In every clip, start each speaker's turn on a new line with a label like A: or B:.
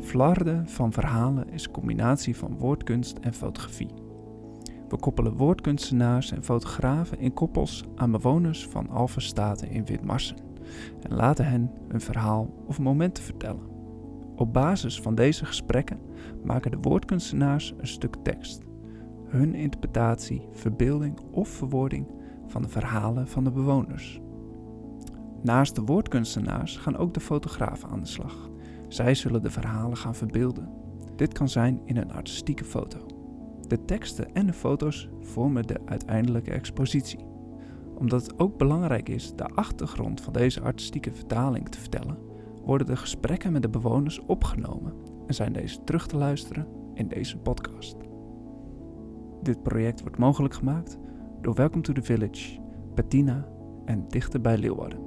A: flarden van verhalen is een combinatie van woordkunst en fotografie. We koppelen woordkunstenaars en fotografen in koppels aan bewoners van Alphenstaten in Witmarsen en laten hen hun verhaal of momenten vertellen. Op basis van deze gesprekken maken de woordkunstenaars een stuk tekst. Hun interpretatie, verbeelding of verwoording van de verhalen van de bewoners. Naast de woordkunstenaars gaan ook de fotografen aan de slag. Zij zullen de verhalen gaan verbeelden. Dit kan zijn in een artistieke foto. De teksten en de foto's vormen de uiteindelijke expositie. Omdat het ook belangrijk is de achtergrond van deze artistieke vertaling te vertellen, worden de gesprekken met de bewoners opgenomen en zijn deze terug te luisteren in deze podcast. Dit project wordt mogelijk gemaakt door Welcome to the Village, Bettina en Dichter bij Leeuwarden.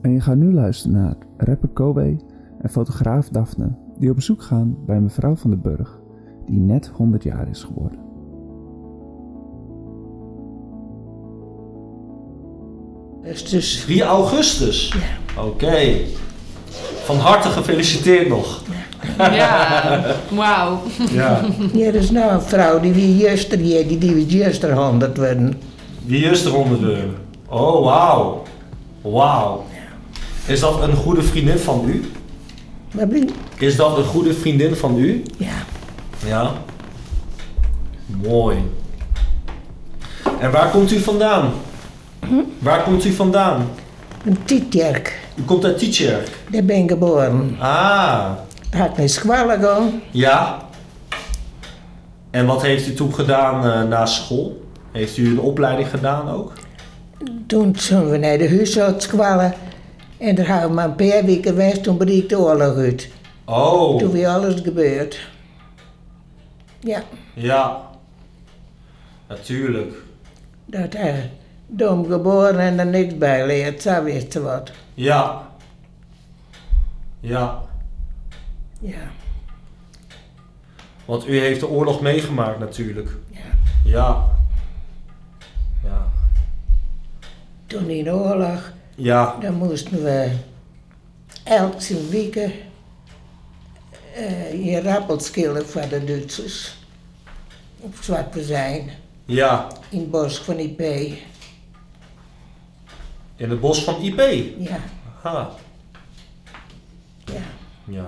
A: En je gaat nu luisteren naar rapper Kobe en fotograaf Daphne, die op bezoek gaan bij mevrouw van den Burg, die net 100 jaar is geworden.
B: Dus,
C: Het is 3 augustus. Oké. Van harte gefeliciteerd nog.
D: Ja, wauw.
C: Ja.
B: Hier is nou een vrouw die wie juster hier, die die wie juster honderd werden.
C: Wie is er onder de? Oh, wauw. Wauw. Is dat een goede vriendin van u?
B: Maar blieb-
C: Is dat een goede vriendin van u?
B: Ja,
C: Ja. Mooi. En waar komt u vandaan? Waar komt u vandaan?
B: een tietjerk.
C: U komt uit Tietjerk.
B: Daar ben ik geboren.
C: Ah,
B: Daar had ik naar Squallen gaan.
C: ja. En wat heeft u toen gedaan eh, na school? Heeft u een opleiding gedaan ook?
B: Toen zijn we naar de huisarts Squallen. En daar hadden we maar een paar weken weg, toen breekt de oorlog uit.
C: Oh,
B: Toen weer alles gebeurd. Ja,
C: ja. Natuurlijk.
B: dat hij dom geboren en er niks bij leert, zo wist ze wat.
C: Ja. Ja.
B: Ja,
C: Want u heeft de oorlog meegemaakt natuurlijk.
B: ja.
C: Ja. Ja.
B: Toen in de oorlog
C: Ja.
B: Dan moesten we elk zijn weken eh, je rappels killen voor de Duitsers. Op Zwarte Zijn,
C: Ja.
B: in het bos van IP.
C: In het bos van IP.
B: Ja,
C: Aha.
B: ja.
C: Ja.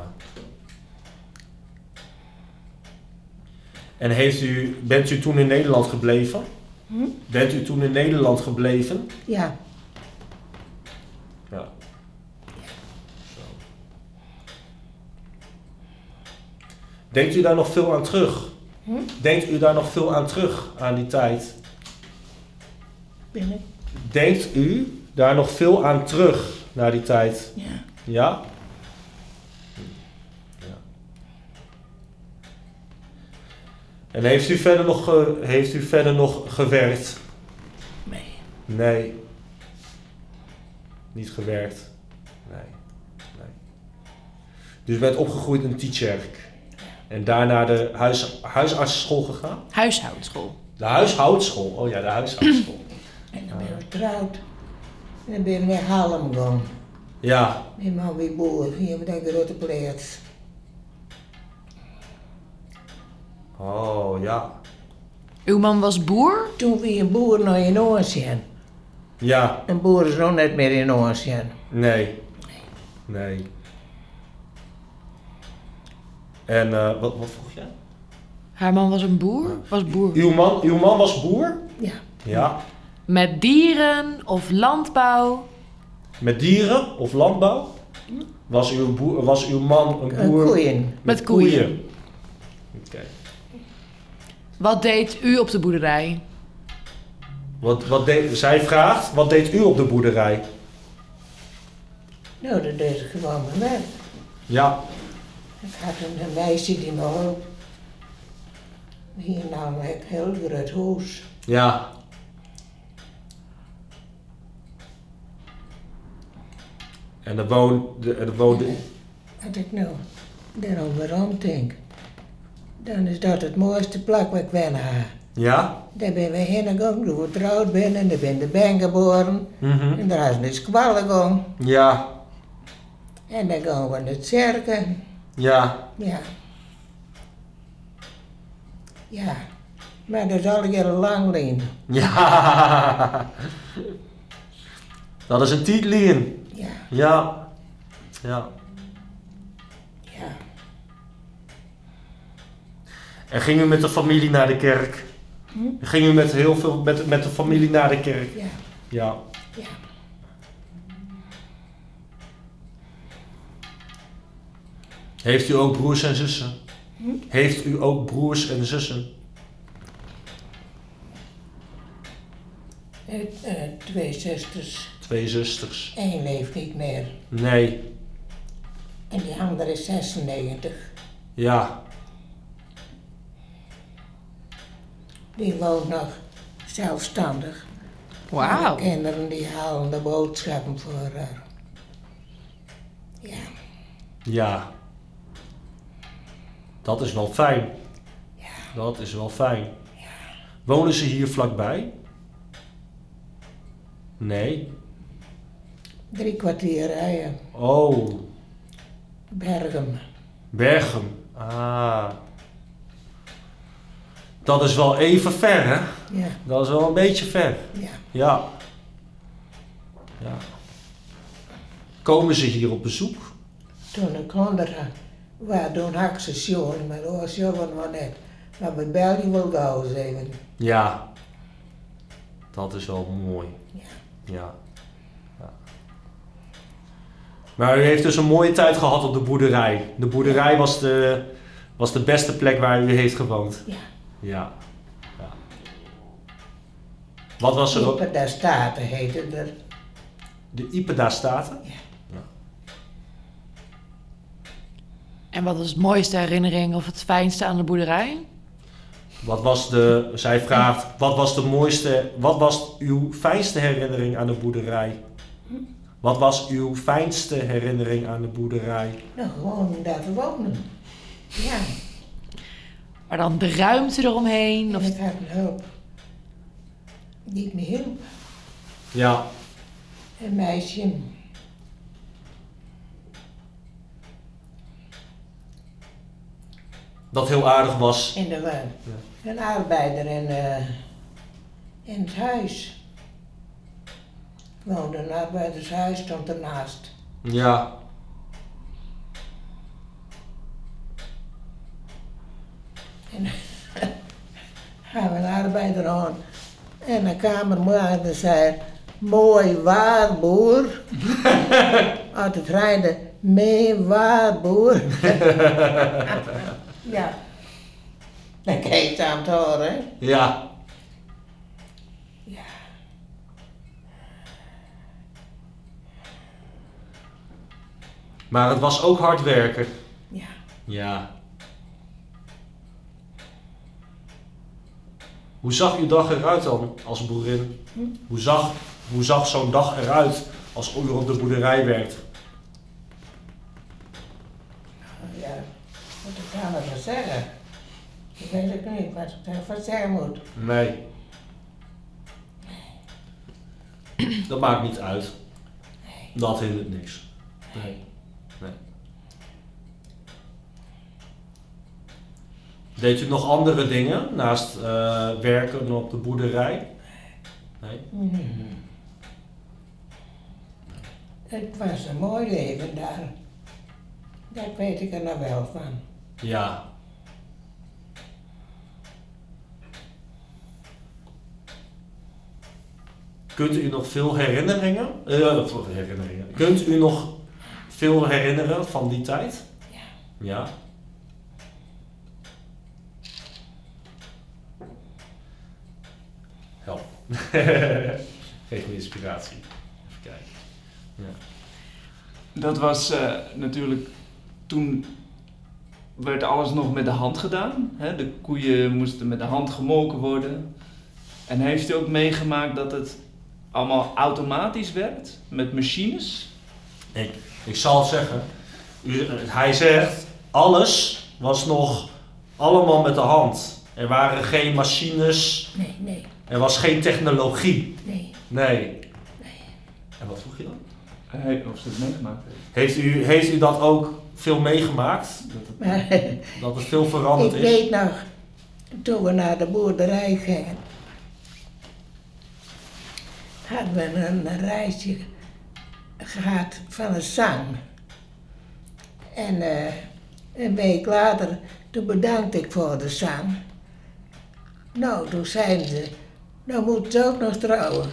C: En heeft u, bent u toen in Nederland gebleven? Bent u toen in Nederland gebleven?
B: Ja,
C: Ja. Zo. Denkt u daar nog veel aan terug? Denkt u daar nog veel aan terug, aan die tijd?
B: ben ik?
C: Denkt u daar nog veel aan terug, naar die tijd?
B: Ja.
C: Ja? Ja. En heeft u verder nog, ge- heeft u verder nog gewerkt?
B: Nee.
C: Nee. Niet gewerkt. Nee. nee. Dus u bent opgegroeid in Tietjerk. En daarna de huis, huisartsenschool gegaan?
D: Huishoudschool.
C: De huishoudschool. Oh ja, de huishoudschool.
B: En dan ben ik getrouwd. En dan ben ik naar Harlem gegaan.
C: ja.
B: Mijn man weer boer, hier met dat grote plaats.
C: Oh ja.
D: Uw man was boer?
B: Toen weer een boer naar in Oosien.
C: Ja.
B: Een boer is nog net meer in Oosien.
C: Nee. Nee. En eh, wat, wat vroeg je?
D: Haar man was een boer? Was boer.
C: Uw man, uw man was boer?
B: Ja,
C: Ja.
D: Met dieren of landbouw?
C: Met dieren of landbouw? Was uw, boer, was uw man een
B: een
C: boer?
B: koeien.
D: Met koeien.
C: Oké.
D: Wat deed u op de boerderij?
C: Wat, wat deed, zij vraagt, wat deed u op de boerderij?
B: Nou, dat deed ik gewoon mijn werk.
C: Ja.
B: Ik had een, een meisje die me hielp. Hier namelijk heel groot huis.
C: Ja. En er woonde... Er woonde
B: Als ik nou daarover aan denk, dan is dat het mooiste plak waar ik ben ga.
C: ja?
B: Daar ben we heen gegaan, toen we getrouwd ben en daar ben ik ben geboren.
C: Mhm.
B: En daar is een squal gegaan.
C: Ja.
B: En En dan gaan we naar cerken.
C: Ja,
B: Ja. Ja. Maar dat is al heel lang leven.
C: ja. Dat is een tietlien.
B: Ja.
C: Ja, ja.
B: Ja.
C: En ging u met de familie naar de kerk? Ging u met heel veel met, met de familie naar de kerk?
B: Ja.
C: Ja.
B: Ja.
C: Heeft u ook broers en zussen? Heeft u ook broers en zussen?
B: Eh, eh, twee zusters.
C: Twee zusters.
B: Eén leeft niet meer.
C: Nee.
B: En die andere is 96.
C: Ja.
B: Die woont nog zelfstandig.
D: Wauw.
B: De kinderen die halen de boodschappen voor haar. Ja.
C: Ja. Dat is wel fijn. Dat is wel fijn. Wonen ze hier vlakbij? Nee.
B: Drie kwartier rijden.
C: Oh,
B: Bergen.
C: Bergen. Ah. Dat is wel even ver, hè?
B: Ja.
C: Dat is wel een beetje ver.
B: Ja.
C: Ja. Ja. Komen ze hier op bezoek?
B: Toen ik onder had, waar toen had ik ze schoon, maar oh, dat was jongen maar nou net. Maar mijn België wil gauw zeggen.
C: Ja. Dat is wel mooi.
B: Ja.
C: Ja. Ja. Maar u heeft dus een mooie tijd gehad op de boerderij. De boerderij was de, was de beste plek waar u heeft gewoond.
B: Ja.
C: Ja. ja. Wat was er ook?
B: Super daar staten heette dat.
C: De Ipeda Staten?
D: En wat is het mooiste herinnering of het fijnste aan de boerderij?
C: Wat was de, zij vraagt, wat was de mooiste, wat was uw fijnste herinnering aan de boerderij?
B: Hm?
C: Wat was uw fijnste herinnering aan de boerderij?
B: Nou, gewoon daar wonen. Ja.
D: Maar dan de ruimte eromheen. Of...
B: ik had een hulp. Die me hielp.
C: Ja,
B: Een meisje.
C: dat heel aardig was.
B: En er was een arbeider in, eh, in het huis. Woonde een arbeidershuis, stond ernaast.
C: Ja.
B: En hij was een arbeider aan. En de kamermaagde zei, mooi waar boer. Uit het rijden, mee waar boer. ja. Dat kreeg ze aan het horen. hè.
C: Ja. Maar het was ook hard werken.
B: Ja.
C: Ja. Hoe zag uw dag eruit dan als boerin? Hoe zag, hoe zag zo'n dag eruit als u op de boerderij werkt?
B: Ja, wat ik kan ervan zeggen. Ik weet ook niet wat ik ervan zeggen moet.
C: Nee. Dat maakt niet uit. Dat hindert niks. Nee. nee. Deed u nog andere dingen naast eh, werken op de boerderij? Nee.
B: Het was een mooi leven daar. Dat weet ik er nog wel van.
C: Ja. Kunt u nog veel herinneringen? eh, of herinneringen. Kunt u nog veel herinneren van die tijd? Ja. Ja. Help. Geef me inspiratie. Even kijken.
E: Dat was eh, natuurlijk toen werd alles nog met de hand gedaan. Hè? De koeien moesten met de hand gemolken worden. En heeft u ook meegemaakt dat het allemaal automatisch werd met machines?
C: Ik, ik zal zeggen, u- hij zegt, alles was nog allemaal met de hand. Er waren geen machines,
B: Nee, nee,
C: er was geen technologie.
B: nee.
C: Nee. En wat vroeg je dan?
E: He- of ze het meegemaakt heeft.
C: Heeft u, heeft u dat ook veel meegemaakt? Dat het,
B: Maar
C: dat het veel
B: ik
C: veranderd is?
B: weet nog, toen we naar de boerderij gingen, hadden we een reisje gehad van een zang. En eh, een week later, toen bedankte ik voor de zang. Nou, toen zeiden ze, nou moet ze ook nog trouwen.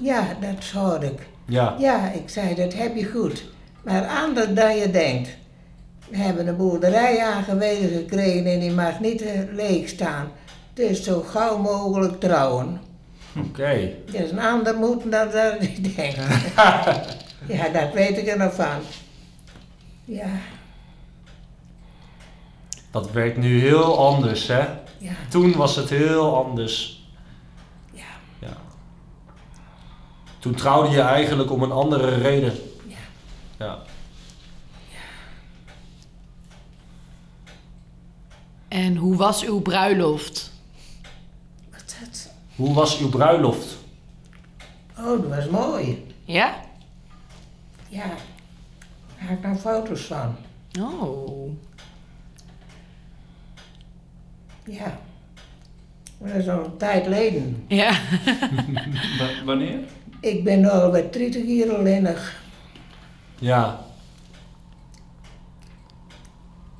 B: Ja, dat hoorde ik.
C: Ja.
B: Ja, ik zei, dat heb je goed. Maar anders dan je denkt. We hebben een boerderij aangewezen gekregen en die mag niet eh, leeg staan. Dus zo gauw mogelijk trouwen.
C: Oké.
B: Dus een ander moet dan dat niet denken. ja, dat weet ik er nog van. Ja,
C: Dat werkt nu heel anders, hè?
B: ja,
C: Toen was het heel anders.
B: ja.
C: Ja. Toen trouwde je eigenlijk om een andere reden.
B: Ja.
C: Ja.
D: En hoe was uw bruiloft?
B: Wat is dat?
C: Hoe was uw bruiloft?
B: Oh, dat was mooi.
D: Ja?
B: Ja, daar heb ik nog foto's van.
D: Oh.
B: Ja. Maar Dat is al een tijd geleden.
D: Ja.
E: Wa- wanneer?
B: Ik ben nu al bij 30 jaar alleenig.
C: Ja.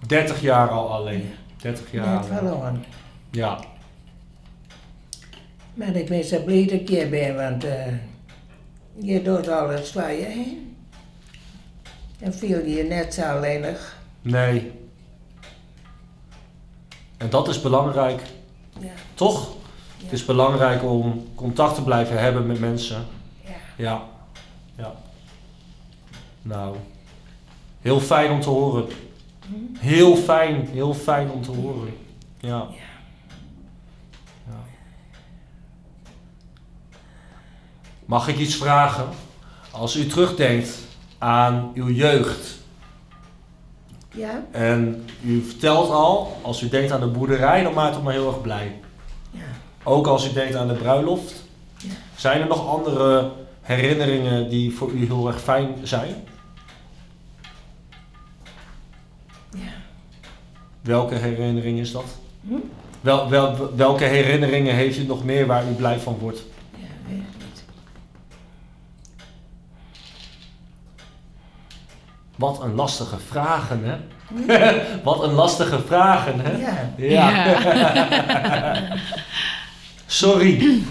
C: 30 jaar al alleen. 30 jaar.
B: Net
C: alleen.
B: verloren.
C: Ja.
B: Maar ik ben zo blij dat ik hier ben, want eh, je doet alles waar je heen. En viel je net zo alleenig.
C: Nee. En dat is belangrijk,
B: Ja,
C: toch? Het is belangrijk om contact te blijven hebben met mensen.
B: ja.
C: Ja. Ja. Nou. Heel fijn om te horen. Heel fijn, heel fijn om te horen. Ja. ja. Mag ik iets vragen? Als u terugdenkt aan uw jeugd
B: Ja,
C: en u vertelt al, als u denkt aan de boerderij, dan maakt het me heel erg blij.
B: ja.
C: Ook als u denkt aan de bruiloft.
B: Ja.
C: Zijn er nog andere herinneringen die voor u heel erg fijn zijn?
B: Ja.
C: Welke herinnering is dat?
B: Hm?
C: Wel, wel, welke herinneringen heeft u nog meer waar u blij van wordt?
B: Ja, weet ik niet.
C: Wat een lastige vragen, hè? Wat een lastige vragen, hè?
B: Hm? Ja,
C: Sorry.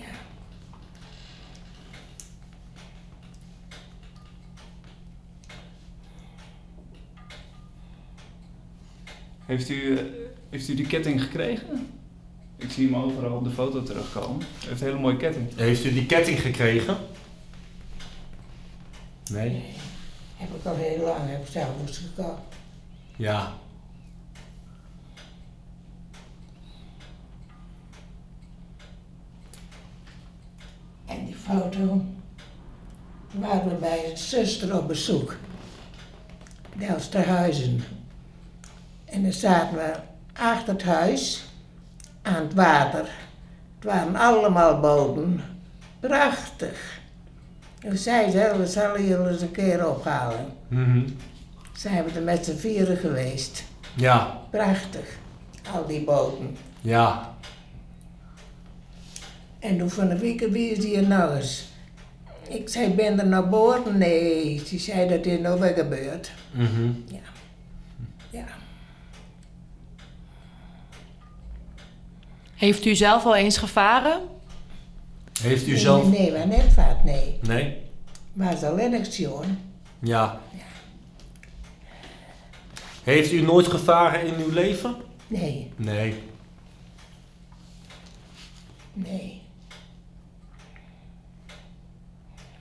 B: ja.
E: Heeft u, eh, heeft u die ketting gekregen? Ik zie hem overal op de foto terugkomen. Hij heeft een hele mooie ketting.
C: Heeft u die ketting gekregen? Nee.
B: Heb ik al heel lang, heb ik zelf moest gekocht.
C: Ja.
B: En die foto waren we bij een zuster op bezoek. Delsterhuizen. En dan zaten we achter het huis aan het water. Het waren allemaal boten. Prachtig. En zij zei, we zullen jullie eens een keer ophalen.
C: Mhm.
B: Zijn we er met z'n vieren geweest.
C: Ja.
B: Prachtig. Al die boten.
C: Ja.
B: En toen van de week wie is hier nog eens? Ik zei, ben er naar boord? Nee, ze zei dat is nog weer gebeurd.
C: Mhm.
B: Ja.
D: Heeft u zelf al eens gevaren?
C: Heeft u
B: Nee,
C: zelf.
B: Nee, maar net vaart, nee.
C: Nee?
B: Maar zo Lennox, jongen.
C: Ja. Heeft u nooit gevaren in uw leven?
B: Nee,
C: Nee.
B: nee.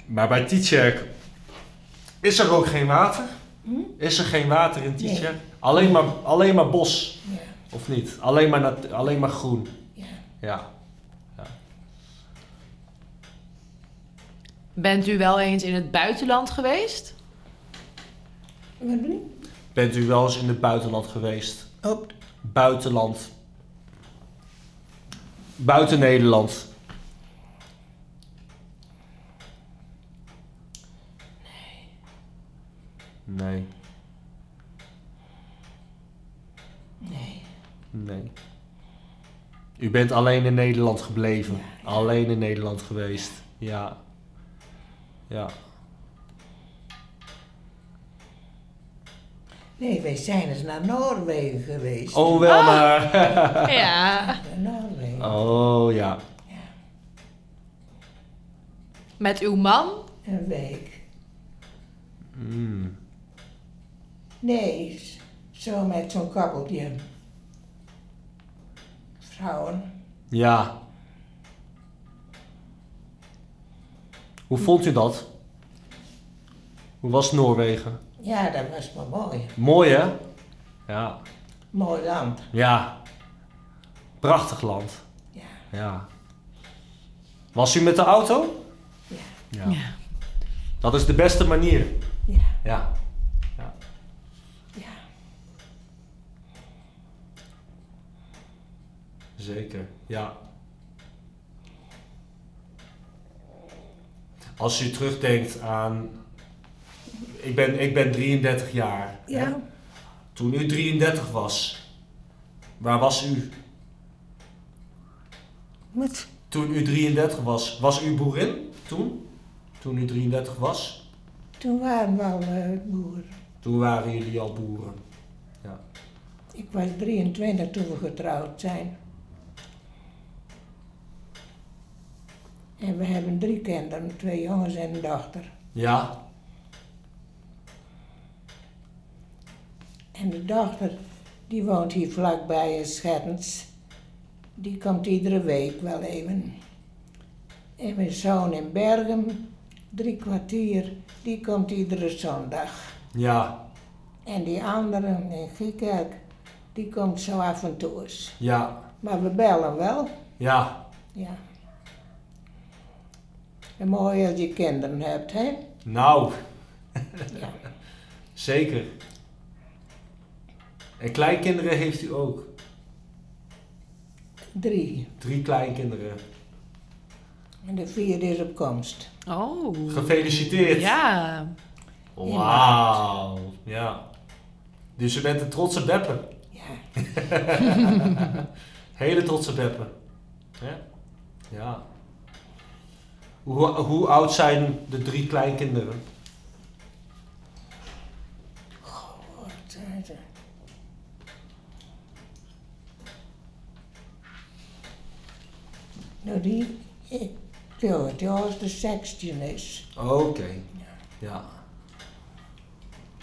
C: Maar bij Tietjerk is er ook geen water? Is er geen water in Tietjerk? Alleen, maar, alleen maar bos,
B: Ja,
C: of niet? Alleen maar, nat- alleen maar groen.
B: ja.
C: Ja.
D: Bent u wel eens in het buitenland geweest?
B: Wat doen?
C: Bent u wel eens in het buitenland geweest?
B: Op,
C: Buitenland. Buiten Nederland. Nee. Nee.
D: Nee.
C: Nee. U bent alleen in Nederland gebleven. Alleen in Nederland geweest. Ja. Ja.
B: nee, wij zijn eens naar Noorwegen geweest.
C: Oh, wel maar.
D: Ja.
B: Naar Noorwegen.
C: Oh, ja.
D: Met uw man?
B: Een week.
C: Mm.
B: Nee, s- zo met zo'n kabbeltje. Vrouwen.
C: Ja. Hoe vond u dat? Hoe was Noorwegen?
B: Ja, dat was wel mooi.
C: Mooi, hè? Ja.
B: Mooi land.
C: Ja. Prachtig land.
B: Ja.
C: Ja. Was u met de auto?
B: Ja.
D: Ja.
C: Dat is de beste manier.
B: Ja,
C: Ja.
B: ja.
C: Zeker, ja. Als je terugdenkt aan. Ik ben, ik ben 33 jaar. hè?
B: Ja,
C: Toen u 33 was, waar was u?
B: moet.
C: Toen u 33 was, was u boerin? Toen? Toen u 33 was,
B: Toen waren we al eh, boer.
C: toen waren jullie al boeren.
B: Ik was 23 toen we getrouwd zijn. En we hebben drie kinderen, twee jongens en een dochter.
C: Ja,
B: En de dochter, die woont hier vlakbij in Schettens. Die komt iedere week wel even. En mijn zoon in Bergen, drie kwartier, die komt iedere zondag.
C: ja,
B: En die andere in Giekerk, die komt zo af en toe eens.
C: ja,
B: Maar we bellen wel.
C: ja.
B: Ja. En mooi als je kinderen hebt, hè?
C: Nou,
B: Ja.
C: zeker. En kleinkinderen heeft u ook.
B: Drie.
C: Drie kleinkinderen.
B: En de vierde is op komst.
D: Oh.
C: Gefeliciteerd.
D: Ja.
C: Wauw. Ja. Dus je bent een trotse beppe.
B: Ja.
C: Hele trotse beppe. Ja. ja. Hoe, hoe oud zijn de drie kleinkinderen?
B: Wat zijn ze? Nou, die... Ik wil het als de sextien is.
C: Oké. Ja.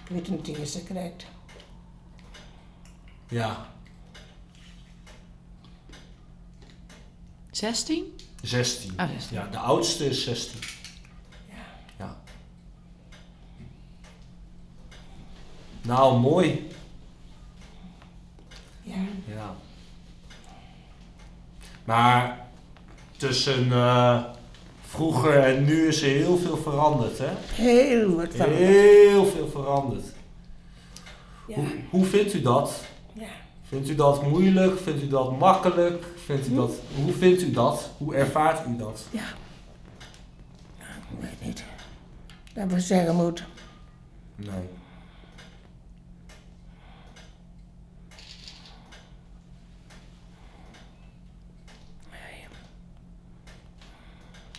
B: Ik weet niet die ze krijgt.
C: Ja.
D: 16?
C: 16.
D: Ah, 16.
C: Ja, de oudste is 16. Ja. Nou, mooi.
B: Ja.
C: Ja. Maar tussen eh, vroeger en nu is er heel veel veranderd, hè?
B: Heel wat van.
C: Heel veel veranderd.
B: Ja.
C: Hoe, hoe vindt u dat?
B: Ja.
C: Vindt u dat moeilijk? Vindt u dat makkelijk? Vindt u dat, hoe vindt u dat? Hoe ervaart u dat?
B: Ik weet niet. Dat we zeggen moet.
C: Nee.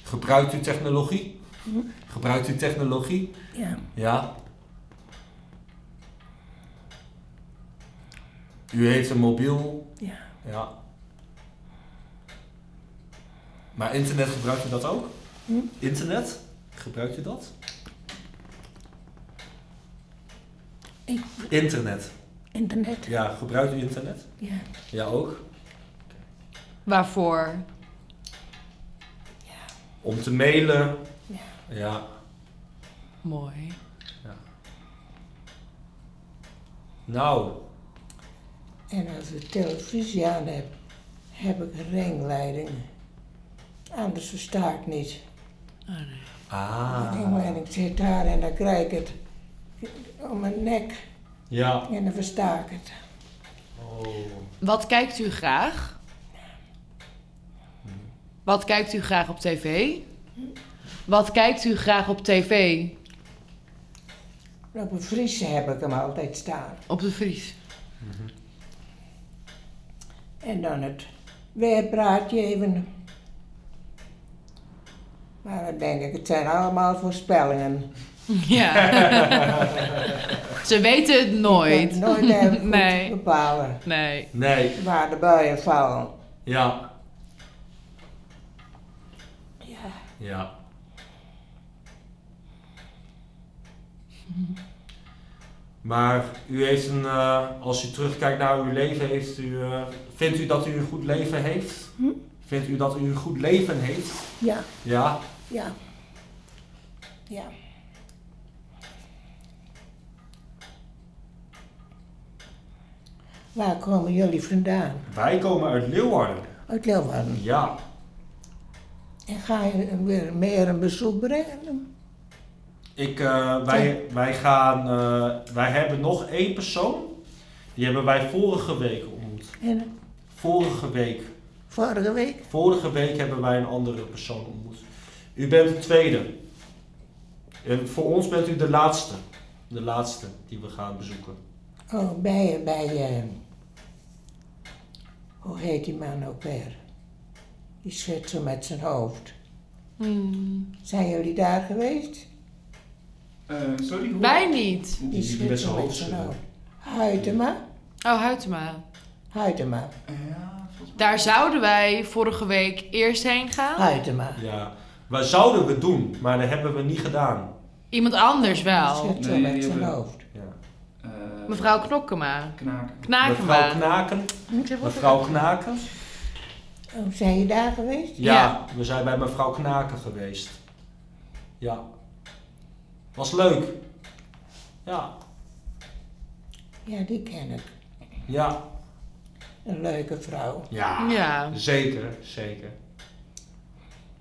C: Gebruikt u technologie? Gebruikt u technologie?
B: Ja.
C: Ja. U heeft een mobiel.
B: Ja.
C: Ja. Maar internet gebruikt u dat ook?
B: Hm?
C: Internet? Gebruikt u dat?
B: Ik-
C: Internet.
B: Internet.
C: Ja, gebruikt u internet?
B: Ja.
C: Ja, ook.
D: Waarvoor?
C: Om te mailen.
B: Ja.
C: Ja.
D: Mooi.
C: Nou,
B: En als ik televisie aan heb, heb ik een ringleiding. Anders versta ik niet. De
C: ah.
B: ringleiding zit daar en dan krijg ik het om mijn nek
C: Ja,
B: en dan versta ik het.
C: Oh.
D: Wat kijkt u graag? Wat kijkt u graag op tv? Wat kijkt u graag op tv?
B: Op een Friese heb ik hem altijd staan.
D: Op de Vries.
B: En dan het weerpraatje even. Maar dan denk ik, het zijn allemaal voorspellingen.
D: Ja. Ze weten het
B: Ik
D: nooit.
B: kan nooit even goed
D: Nee.
B: bepalen
D: Nee.
C: Nee,
B: waar de buien vallen.
C: ja. Ja. Maar u heeft een, eh, als u terugkijkt naar uw leven, heeft u, eh, vindt u dat u een goed leven heeft? Vindt u dat u een goed leven heeft?
B: Ja,
C: Ja.
B: ja. Ja. Waar komen jullie vandaan?
C: Wij komen uit Leeuwarden.
B: Uit Leeuwarden.
C: Ja.
B: En ga je weer meer een bezoek brengen?
C: Ik, eh, wij, wij, gaan, eh, wij hebben nog één persoon. Die hebben wij vorige week ontmoet.
B: En
C: Vorige week.
B: vorige week?
C: Vorige week hebben wij een andere persoon ontmoet. U bent de tweede. En voor ons bent u de laatste. De laatste die we gaan bezoeken.
B: Oh, bij, bij, eh, hoe heet die man ook weer? Die schudt zo met zijn hoofd.
D: Hmm.
B: Zijn jullie daar geweest?
E: Eh, sorry, hoe?
D: Wij niet.
C: Die- die
B: schudt
C: met zijn
B: zo
C: hoofd schudt.
B: Huitema?
D: Oh, Huytema.
B: Huitema.
E: Ja, volgens mij.
D: Daar zouden wij vorige week eerst heen
F: Oh.
D: gaan.
B: Huitema.
C: Ja. Wij zouden we doen, maar dat hebben we niet gedaan.
D: Iemand anders
B: Die
D: wel.
B: schudt zo
E: Nou, Nee,
B: met
E: die
B: zijn
E: hebben-
B: hoofd.
C: Ja.
E: Eh,
D: Mevrouw Knokkema.
E: Knaken.
C: Mevrouw
D: Knakema.
C: Knaken. Mevrouw Knaken.
B: Oh, zijn je daar geweest?
C: Ja,
D: Ja.
C: we zijn bij mevrouw Knaken geweest. Ja. Was leuk. Ja,
B: Ja, die ken ik.
C: ja.
B: Een leuke vrouw.
C: Ja.
D: Ja.
C: Zeker, zeker.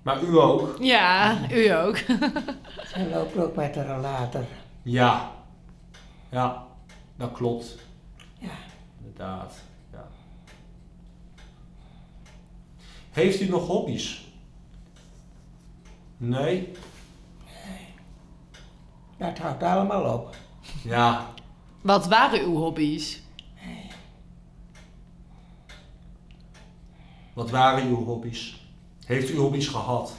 C: Maar u ook?
D: Ja, u ook.
B: Ze loopt ook met haar later.
C: Ja. Ja, dat klopt.
B: Ja.
C: Inderdaad, ja. Heeft u nog hobby's? Nee?
B: Dat houdt allemaal op.
C: Ja.
D: Wat waren uw hobby's?
C: Wat waren uw hobby's? Heeft u hobby's gehad?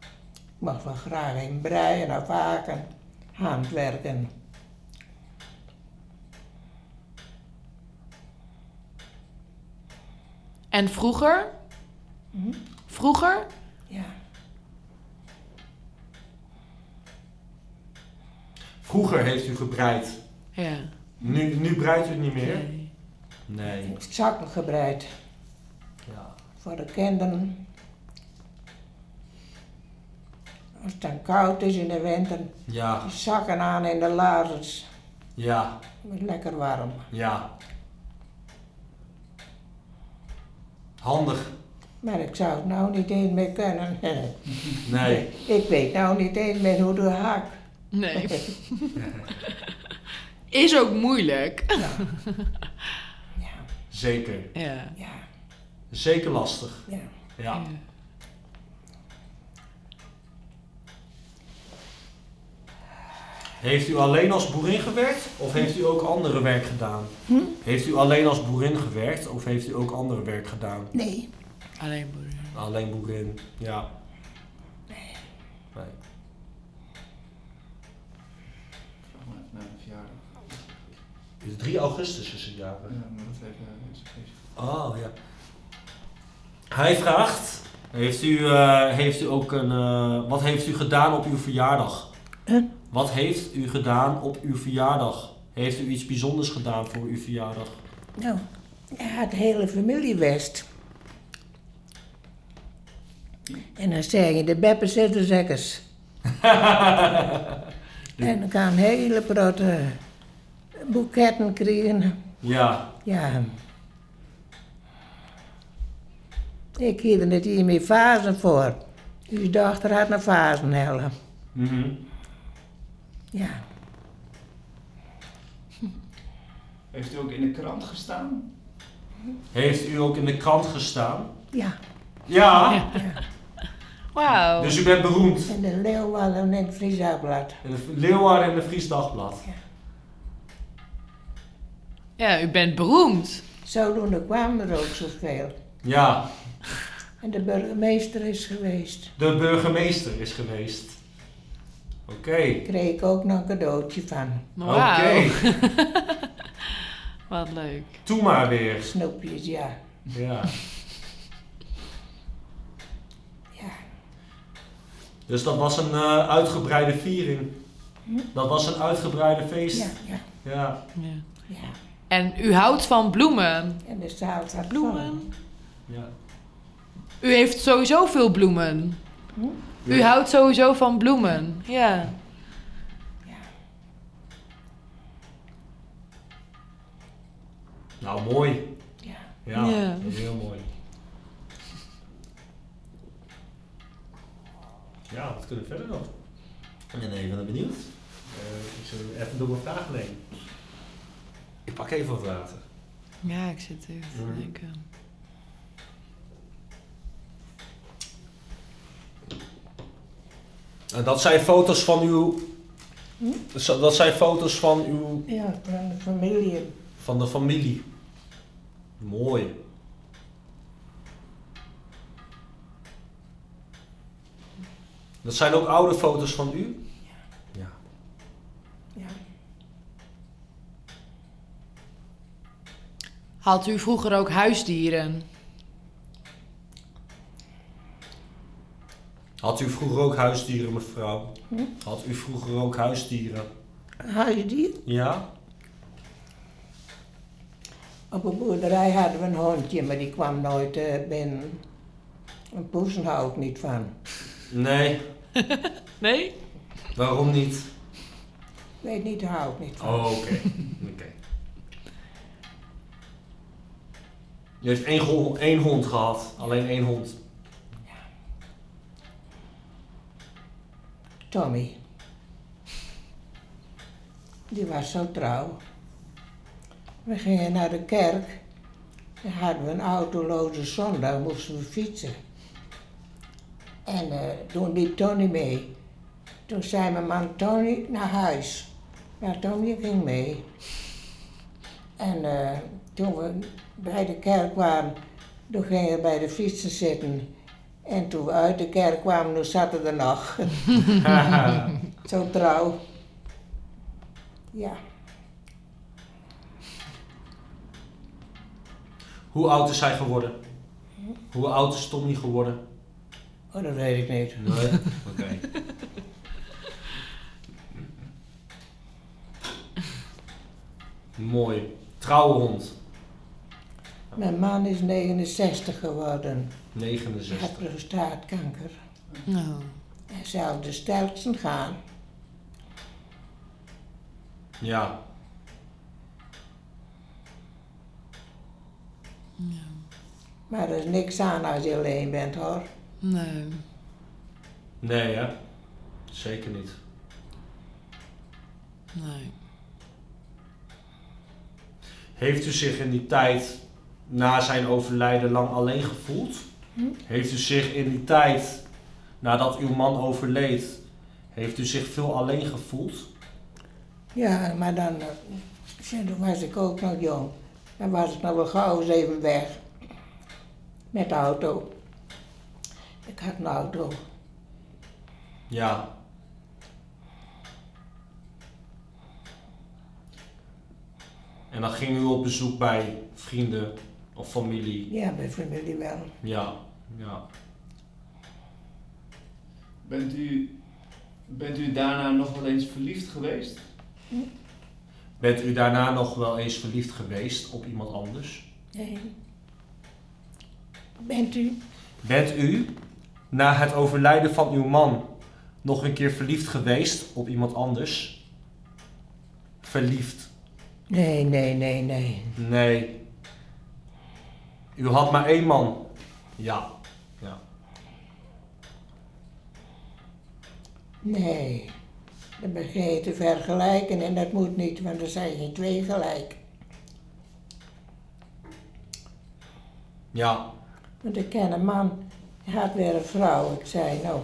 B: Ik mag wel graag in breien of haken, handwerken.
D: En vroeger?
F: Mhm.
D: Vroeger?
B: Ja.
C: Vroeger heeft u gebreid.
D: Ja.
C: Nu, nu breidt u het niet meer?
D: Nee.
C: Nee.
B: Zakken gebreid
C: Ja.
B: voor de kinderen. Als het dan koud is in de winter,
C: Ja,
B: die zakken aan in de lazers.
C: ja,
B: Wordt Lekker warm.
C: ja. Handig.
B: Maar ik zou het nou niet eens meer kunnen.
C: Nee.
B: ik weet nou niet eens meer hoe de hak.
D: Nee. Is ook moeilijk.
B: ja,
C: Zeker.
D: Ja.
B: ja,
C: Zeker lastig.
B: ja.
C: Ja. Heeft u alleen als boerin gewerkt of heeft u ook andere werk gedaan? Heeft u alleen als boerin gewerkt of heeft u ook andere werk gedaan?
B: Nee.
D: Alleen moeder.
C: Alleen boerin, ja. Nee.
E: Vraag maar even naar mijn verjaardag.
C: Het is 3 augustus is het jaar.
E: Ja, maar dat heeft eh, is- is-
C: Oh ja. Hij vraagt: Heeft u, eh, heeft u ook een. eh, wat heeft u gedaan op uw verjaardag?
B: Huh?
C: Wat heeft u gedaan op uw verjaardag? Heeft u iets bijzonders gedaan voor uw verjaardag?
B: Nou, ja, de hele familie west. En dan zeg je, de beppen zitten zekkers. En dan gaan hele grote boeketten krijgen.
C: Ja,
B: Ja. Ik hield het hier met vazen voor. Uw dochter had een vazenhellen.
C: Mhm.
B: Ja.
E: Heeft u ook in de krant gestaan?
C: Heeft u ook in de krant gestaan?
B: Ja,
C: Ja,
F: Wauw.
C: dus u bent beroemd.
B: in de Leeuwarden en het Fries Dagblad.
C: In de Leeuwarden en de Fries Dagblad.
F: Ja, u bent beroemd.
B: Zodoende kwamen er ook zoveel.
C: Ja,
B: En de burgemeester is geweest.
C: de burgemeester is geweest. Oké.
B: Kreeg ik ook nog een cadeautje van.
F: Wauw.
C: Oké.
F: Wat leuk.
C: Doe maar weer.
B: Snoepjes, ja.
C: Ja.
B: Ja.
C: Dus dat was een eh, uitgebreide viering. Dat was een uitgebreide feest.
B: Hm? Ja,
C: Ja.
B: ja,
F: Ja.
B: ja.
F: En u houdt van bloemen.
B: En de zaal zat vol.
F: Bloemen.
C: Ja.
F: U heeft sowieso veel bloemen. U houdt sowieso van bloemen. Ja.
C: Nou, mooi.
B: Ja.
C: Ja,
F: Ja.
C: heel mooi. Ja, wat kunnen we verder dan? Ik ben even benieuwd. Eh, ik zal even door mijn vraag nemen. Ik pak even wat water.
F: Ja, ik zit even te
C: Ja.
F: denken.
C: En dat zijn foto's van uw...
B: Hm?
C: Zo- Dat zijn foto's van uw...
B: Ja, van de familie.
C: Van de familie. Mooi. Dat zijn ook oude foto's van u? Ja.
B: Ja.
F: Had u vroeger ook huisdieren?
C: Had u vroeger ook huisdieren, mevrouw? Had u vroeger ook huisdieren?
B: Huisdier.
C: Ja?
B: Op een boerderij hadden we een hondje, maar die kwam nooit eh, binnen. Een poes hou ik niet van.
C: Nee.
F: Nee?
C: Waarom niet?
B: Weet niet, daar hou ik niet van.
C: Oh, oké. Oké. Je heeft één, go- één hond gehad. Alleen één hond.
B: Tommy. Die was zo trouw. We gingen naar de kerk. Dan hadden we een autoloze zondag, moesten we fietsen. En eh, toen liep Tony mee. Toen zei mijn man Tony naar huis. Maar Tony ging mee. En eh, toen we bij de kerk waren, toen gingen we bij de fietsen zitten. En toen we uit de kerk kwamen, toen zaten er nog. Zo trouw. Ja,
C: Hoe oud is hij geworden? Hoe oud is Tommy geworden?
B: oh, dat weet ik niet.
C: Nee. Oké. Mooi. Trouwe hond.
B: Mijn man is 69 geworden. Hij
C: 69.
B: had prostaatkanker.
F: Nou.
B: Hij zou de sterksten gaan.
C: Ja.
B: Maar er is niks aan als je alleen bent hoor.
F: Nee.
C: Nee, hè? Zeker niet.
F: Nee.
C: Heeft u zich in die tijd na zijn overlijden lang alleen gevoeld? Heeft u zich in die tijd nadat uw man overleed, heeft u zich veel alleen gevoeld?
B: Ja, maar dan, eh, ja, toen was ik ook nog jong. Dan was ik nog wel gauw eens even weg. Met de auto. Ik had een auto.
C: Ja. En dan ging u op bezoek bij vrienden of familie.
B: Ja, mijn familie wel.
C: Ja, ja.
E: Bent u, bent u daarna nog wel eens verliefd geweest?
C: Bent u daarna nog wel eens verliefd geweest op iemand anders?
B: Nee. Bent u?
C: Bent u na het overlijden van uw man nog een keer verliefd geweest op iemand anders? Verliefd.
B: Nee, nee, nee, nee.
C: Nee. U had maar één man. Ja. Ja.
B: Nee, dat begin je te vergelijken en dat moet niet, want er zijn geen twee gelijk.
C: Ja.
B: Want ik ken een man, hij had weer een vrouw. Ik zei, nou,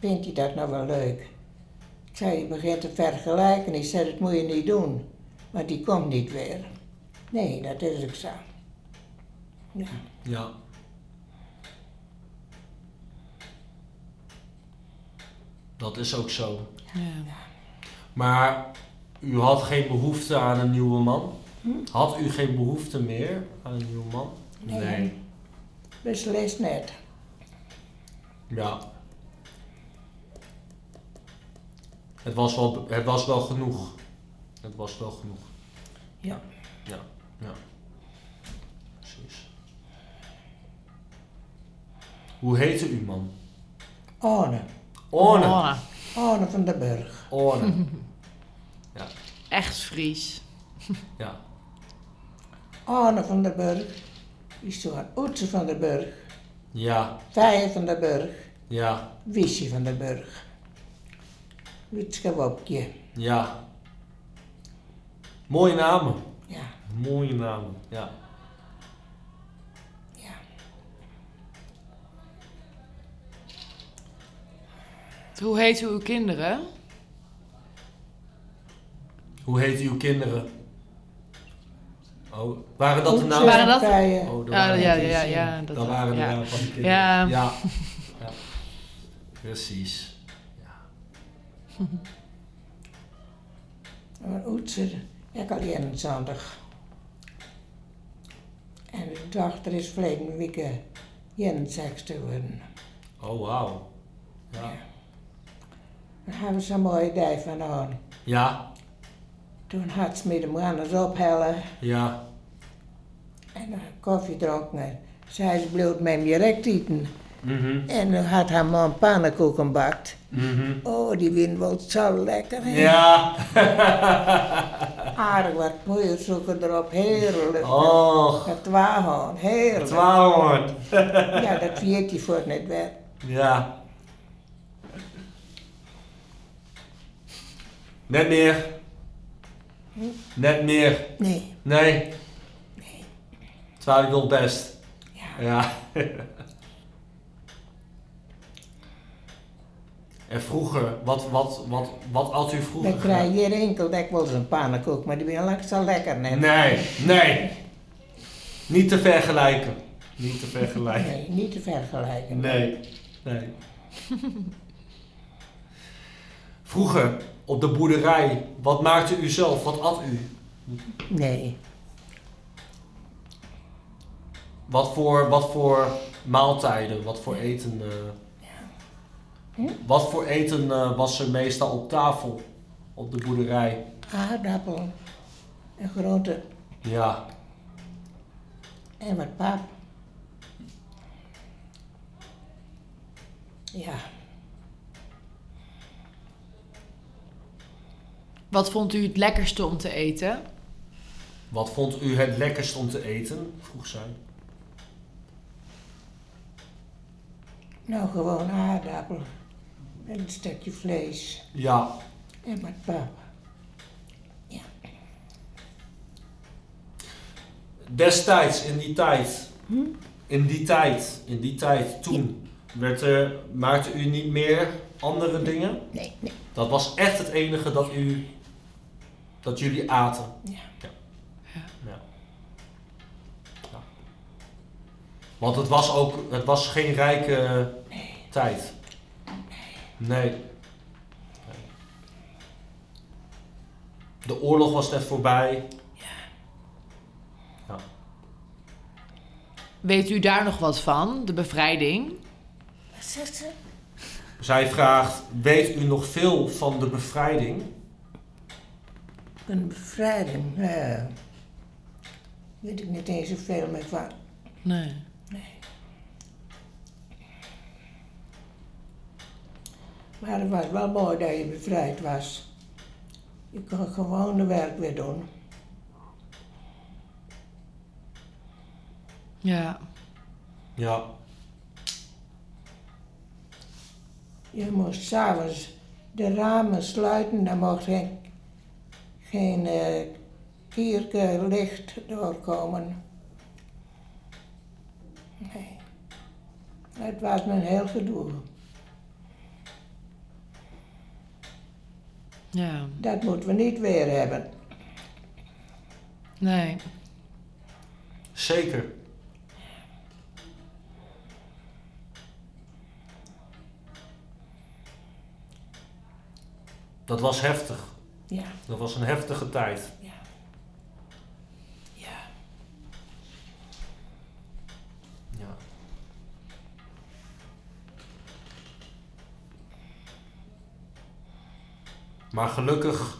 B: vindt hij dat nou wel leuk? Ik zei, je begint te vergelijken. Ik zei, dat moet je niet doen, want die komt niet weer. Nee, dat is ook zo. Ja.
C: Ja. Dat is ook zo.
F: Ja.
C: Maar u had geen behoefte aan een nieuwe man?
B: Hm?
C: Had u geen behoefte meer aan een nieuwe man?
B: Nee. Beslist net.
C: Ja. Het was, wel, het was wel genoeg. Het was wel genoeg.
B: Ja.
C: Ja, ja. Precies. Hoe heette uw man?
B: Orne.
C: Orne.
F: Oh,
B: Orne van den Burg.
C: Orne.
F: echt Fries.
C: Ja.
B: Orne van den Burg. Is toen Oetse van den Burg.
C: Ja,
B: Vijen van den Burg.
C: ja,
B: Wiesje van den Burg. Witske Wopje.
C: ja. Mooie namen.
B: Ja.
C: Mooie namen, ja.
B: Ja.
F: Hoe heten uw kinderen?
C: Hoe heten uw kinderen? Oh, waren dat de
B: Oetse,
C: namen?
F: Waren dat-
B: Vijen.
C: Oh, dat
F: Ja,
C: waren
F: ja,
C: het.
F: ja, ja, dat
C: Dat,
F: wel,
C: waren de
F: ja.
C: namen van de kinderen.
F: Ja.
C: ja. Ja. Precies. Ja.
B: Maar Oetse, ik alleen een zondag. En de dochter is verleden week 61 geworden.
C: Oh, wauw. Ja.
B: Daar hebben ze een mooie dag van aan.
C: Ja,
B: Toen had ze me de mannen ophellen
C: ja,
B: en eh, koffie dronken. En Zij is bloed met me direct eten.
C: mhm,
B: En toen had haar man pannenkoeken gebakt.
C: mhm.
B: Oh, die win wel zo lekker. hè.
C: Ja,
B: Aardig wat moeier zoeken erop, heerlijk.
C: oh,
B: Het waarhoorn, heerlijk.
C: twaalf.
B: Ja, dat viert je voor net weg.
C: Ja. Net meer. Net meer.
B: Nee,
C: Nee. Nee. Terwijl ik wil best.
B: ja.
C: Ja. en vroeger, wat, wat, wat, wat had u vroeger?
B: Dan krijg je hier enkel dat ik wel eens een pannenkoek, maar die ben langs zo lekker net.
C: gedaan? Nee, nee. Niet te vergelijken. Niet te vergelijken.
B: Nee, niet te vergelijken.
C: Nee, nee. Vroeger, op de boerderij, wat maakte u zelf? Wat at u?
B: Nee.
C: Wat voor, wat voor maaltijden, wat voor eten? eh, Wat voor eten eh, was er meestal op tafel op de boerderij?
B: Aardappel, een grote
C: Ja,
B: en wat pap. Ja,
F: Wat vond u het lekkerste om te eten?
C: wat vond u het lekkerst om te eten? Vroeg zij.
B: nou gewoon aardappel met een stukje vlees
C: Ja,
B: en wat pap.
C: destijds, in die tijd, in die tijd, in die tijd, toen, werd er, maakte u niet meer andere dingen?
B: Nee, nee.
C: Dat was echt het enige dat u, dat jullie aten?
B: Ja.
C: Ja. Ja. Ja. Want het was ook, het was geen rijke tijd. Nee. De oorlog was net voorbij.
F: Weet u daar nog wat van? De bevrijding?
B: Wat zegt ze?
C: Zij vraagt: Weet u nog veel van de bevrijding?
B: Een bevrijding, nou, weet ik niet eens zoveel meer van.
F: Nee.
B: Maar het was wel mooi dat je bevrijd was. Je kon gewoon de werk weer doen.
F: Ja.
C: Ja,
B: Je moest s'avonds de ramen sluiten, daar mocht geen, geen eh, kierke licht doorkomen. Nee. Het was me een heel gedoe.
F: Ja,
B: Dat moeten we niet weer hebben.
F: nee.
C: Zeker. Dat was heftig.
B: Ja,
C: Dat was een heftige tijd.
B: ja.
C: Ja. Maar gelukkig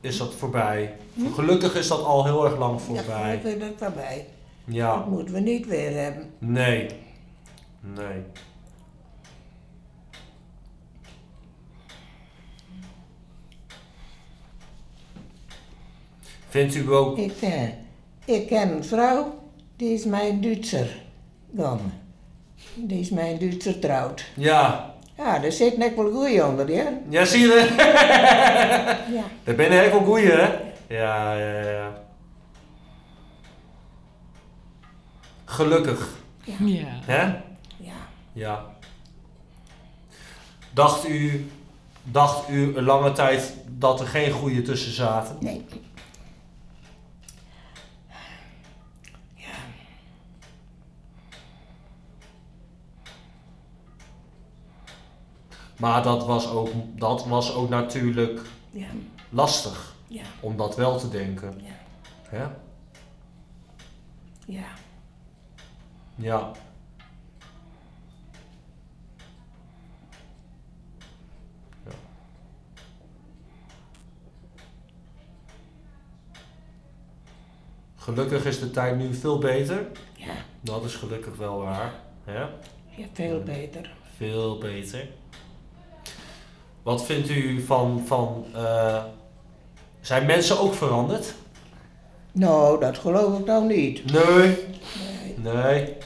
C: is dat voorbij. Gelukkig is dat al heel erg lang
B: Hm? Ja,
C: voorbij.
B: dat is voorbij. Dat
C: Ja,
B: moeten we niet weer hebben.
C: nee. Nee. Vindt u ook.
B: Ik, eh, ik ken een vrouw, die is mijn Duitser dan. Die is mijn Duitser trouwd.
C: Ja,
B: Ja, daar zit nek wel goeie onder, ja.
C: ja zie je?
B: Ja.
C: Daar ben je heel veel goeie, hè? Ja, ja, ja. Gelukkig,
F: Ja.
C: hè?
B: Ja.
C: Ja. Dacht u, dacht u een lange tijd dat er geen goede tussen zaten?
B: Nee.
C: Maar dat was ook, dat was ook natuurlijk
B: Ja.
C: lastig
B: Ja.
C: om dat wel te denken.
B: Ja.
C: Hè?
B: Ja.
C: Ja. Ja. Gelukkig is de tijd nu veel beter.
B: Ja.
C: Dat is gelukkig wel waar. Hè?
B: Ja, veel beter.
C: Veel beter. Wat vindt u van. van eh, zijn mensen ook veranderd?
B: Nou, dat geloof ik nou niet.
C: Nee.
B: Nee,
C: Nee.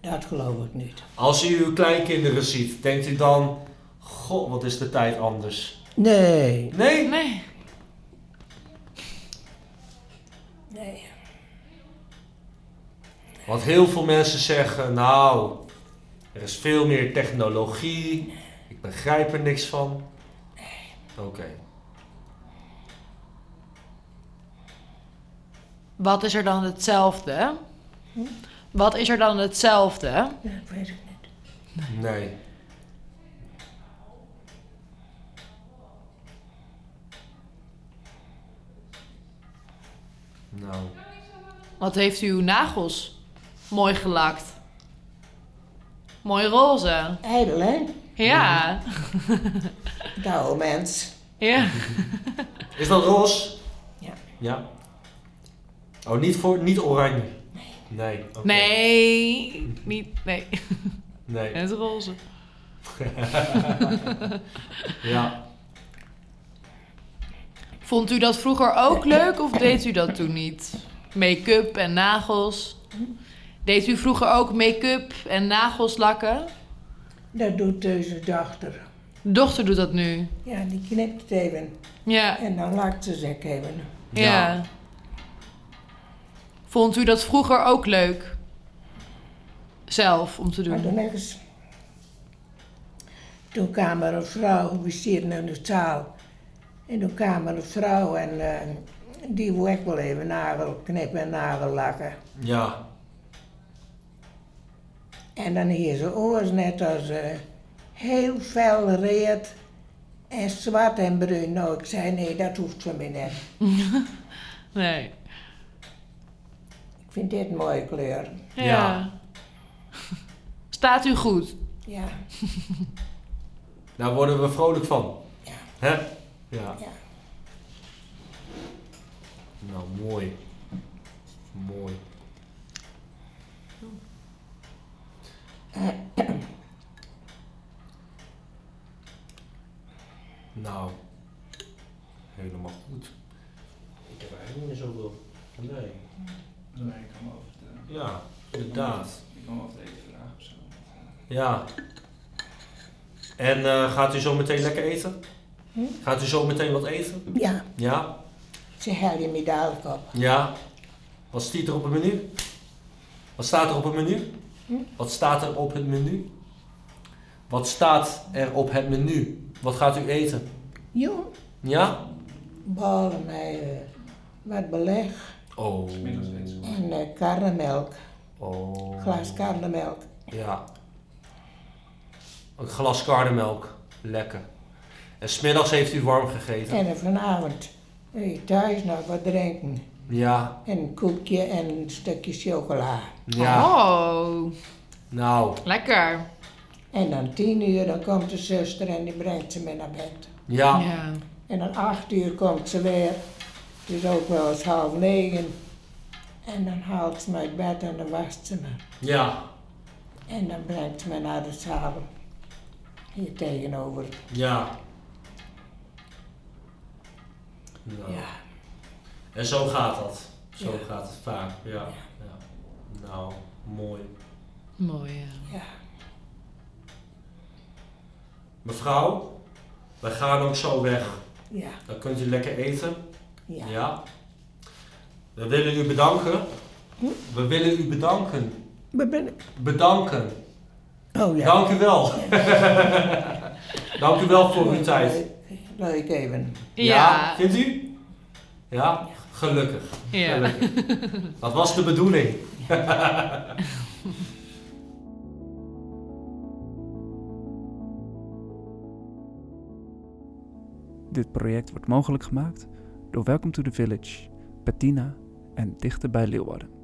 B: dat geloof ik niet.
C: Als u uw kleinkinderen ziet, denkt u dan. God, wat is de tijd anders?
B: Nee.
C: Nee?
F: Nee.
B: Nee.
C: Want heel veel mensen zeggen, nou, er is veel meer technologie, ik begrijp er niks van. Oké.
F: Wat is er dan hetzelfde? Wat is er dan hetzelfde?
B: Dat weet ik niet.
C: Nee. Nou,
F: Wat heeft u uw nagels mooi gelakt? Mooi roze.
B: Ijdel, hè?
F: Ja.
B: Nou, mens.
F: Ja.
C: is dat roze?
B: Ja.
C: Ja. Oh, niet, voor, niet oranje? Nee. Nee. oké.
F: Nee. Niet. Nee.
C: Nee.
F: Het roze.
C: Ja.
F: Vond u dat vroeger ook leuk of deed u dat toen niet? Make-up en nagels. Deed u vroeger ook make-up en nagels lakken?
B: Dat doet deze dochter.
F: Dochter doet dat nu.
B: Ja, die knipt het even.
F: Ja.
B: En dan lakt ze zich even.
F: Ja. Vond u dat vroeger ook leuk? Zelf om te
B: Maar
F: doen.
B: toen ergens... Toen kwam er een vrouw, we zitten in de zaal. En toen kwam er een vrouw en eh, die wou ik wel even nagel knippen en nagel lakken.
C: Ja.
B: En dan hier zijn oors net als eh, heel fel reet en zwart en bruin. Nou, ik zei nee, dat hoeft van mij net.
F: Nee.
B: Ik vind dit een mooie kleur.
F: Ja.
C: Ja.
F: Staat u goed?
B: Ja,
C: Daar worden we vrolijk van.
B: Ja.
C: Hè? Ja.
B: ja.
C: Nou, mooi. Mooi. Nou, helemaal goed. Ik heb eigenlijk niet meer zoveel. Nee.
E: Nee, ik kan me over de,
C: Ja, inderdaad.
E: ik kan me over de eten vragen of zo.
C: Ja. En eh, gaat u zo meteen lekker eten?
B: Hm?
C: Gaat u zo meteen wat eten?
B: Ja,
C: Ja?
B: ze hel je me dadelijk op.
C: Ja. Wat stiet er op het menu? Wat staat er op het menu? Wat staat er op het menu? Wat staat er op het menu? Wat gaat u eten?
B: Jong,
C: Ja?
B: ballen mij eh, met beleg
C: Oh.
B: en eh, karnemelk,
C: Oh.
B: glas karnemelk.
C: Ja. Een glas karnemelk. Lekker. En smiddags heeft u warm gegeten.
B: En eh, vanavond wil je thuis nog wat drinken.
C: Ja.
B: En een koekje en een stukje chocola.
C: Ja.
F: Oh,
C: Nou.
F: lekker.
B: En dan tien uur dan komt de zuster en die brengt ze mee naar bed.
C: Ja.
F: Ja.
B: En dan acht uur komt ze weer. Het is ook wel eens half negen. En dan haalt ze me uit bed en dan wast ze me.
C: Ja.
B: En dan brengt ze me naar de zaal. Hier tegenover.
C: Oh. Ja. Nou.
B: Ja.
C: En zo gaat dat. Zo
B: Ja.
C: gaat het vaak. Ja. ja. Nou, mooi.
F: Mooi, ja.
B: ja.
C: Mevrouw, wij gaan ook zo weg.
B: Ja,
C: Dan kunt u lekker eten.
B: ja.
C: We willen u bedanken. We willen u bedanken.
B: Maar ben ik?
C: Bedanken.
B: Oh ja.
C: Dank u wel. Dank u wel voor uw tijd.
B: Leuk- Leuk even.
F: Ja.
C: Vindt u? Ja? Gelukkig.
F: Ja.
C: Gelukkig. Dat was de bedoeling.
A: Dit project wordt mogelijk gemaakt door Welcome to the Village, Bettina en Dichter bij Leeuwarden.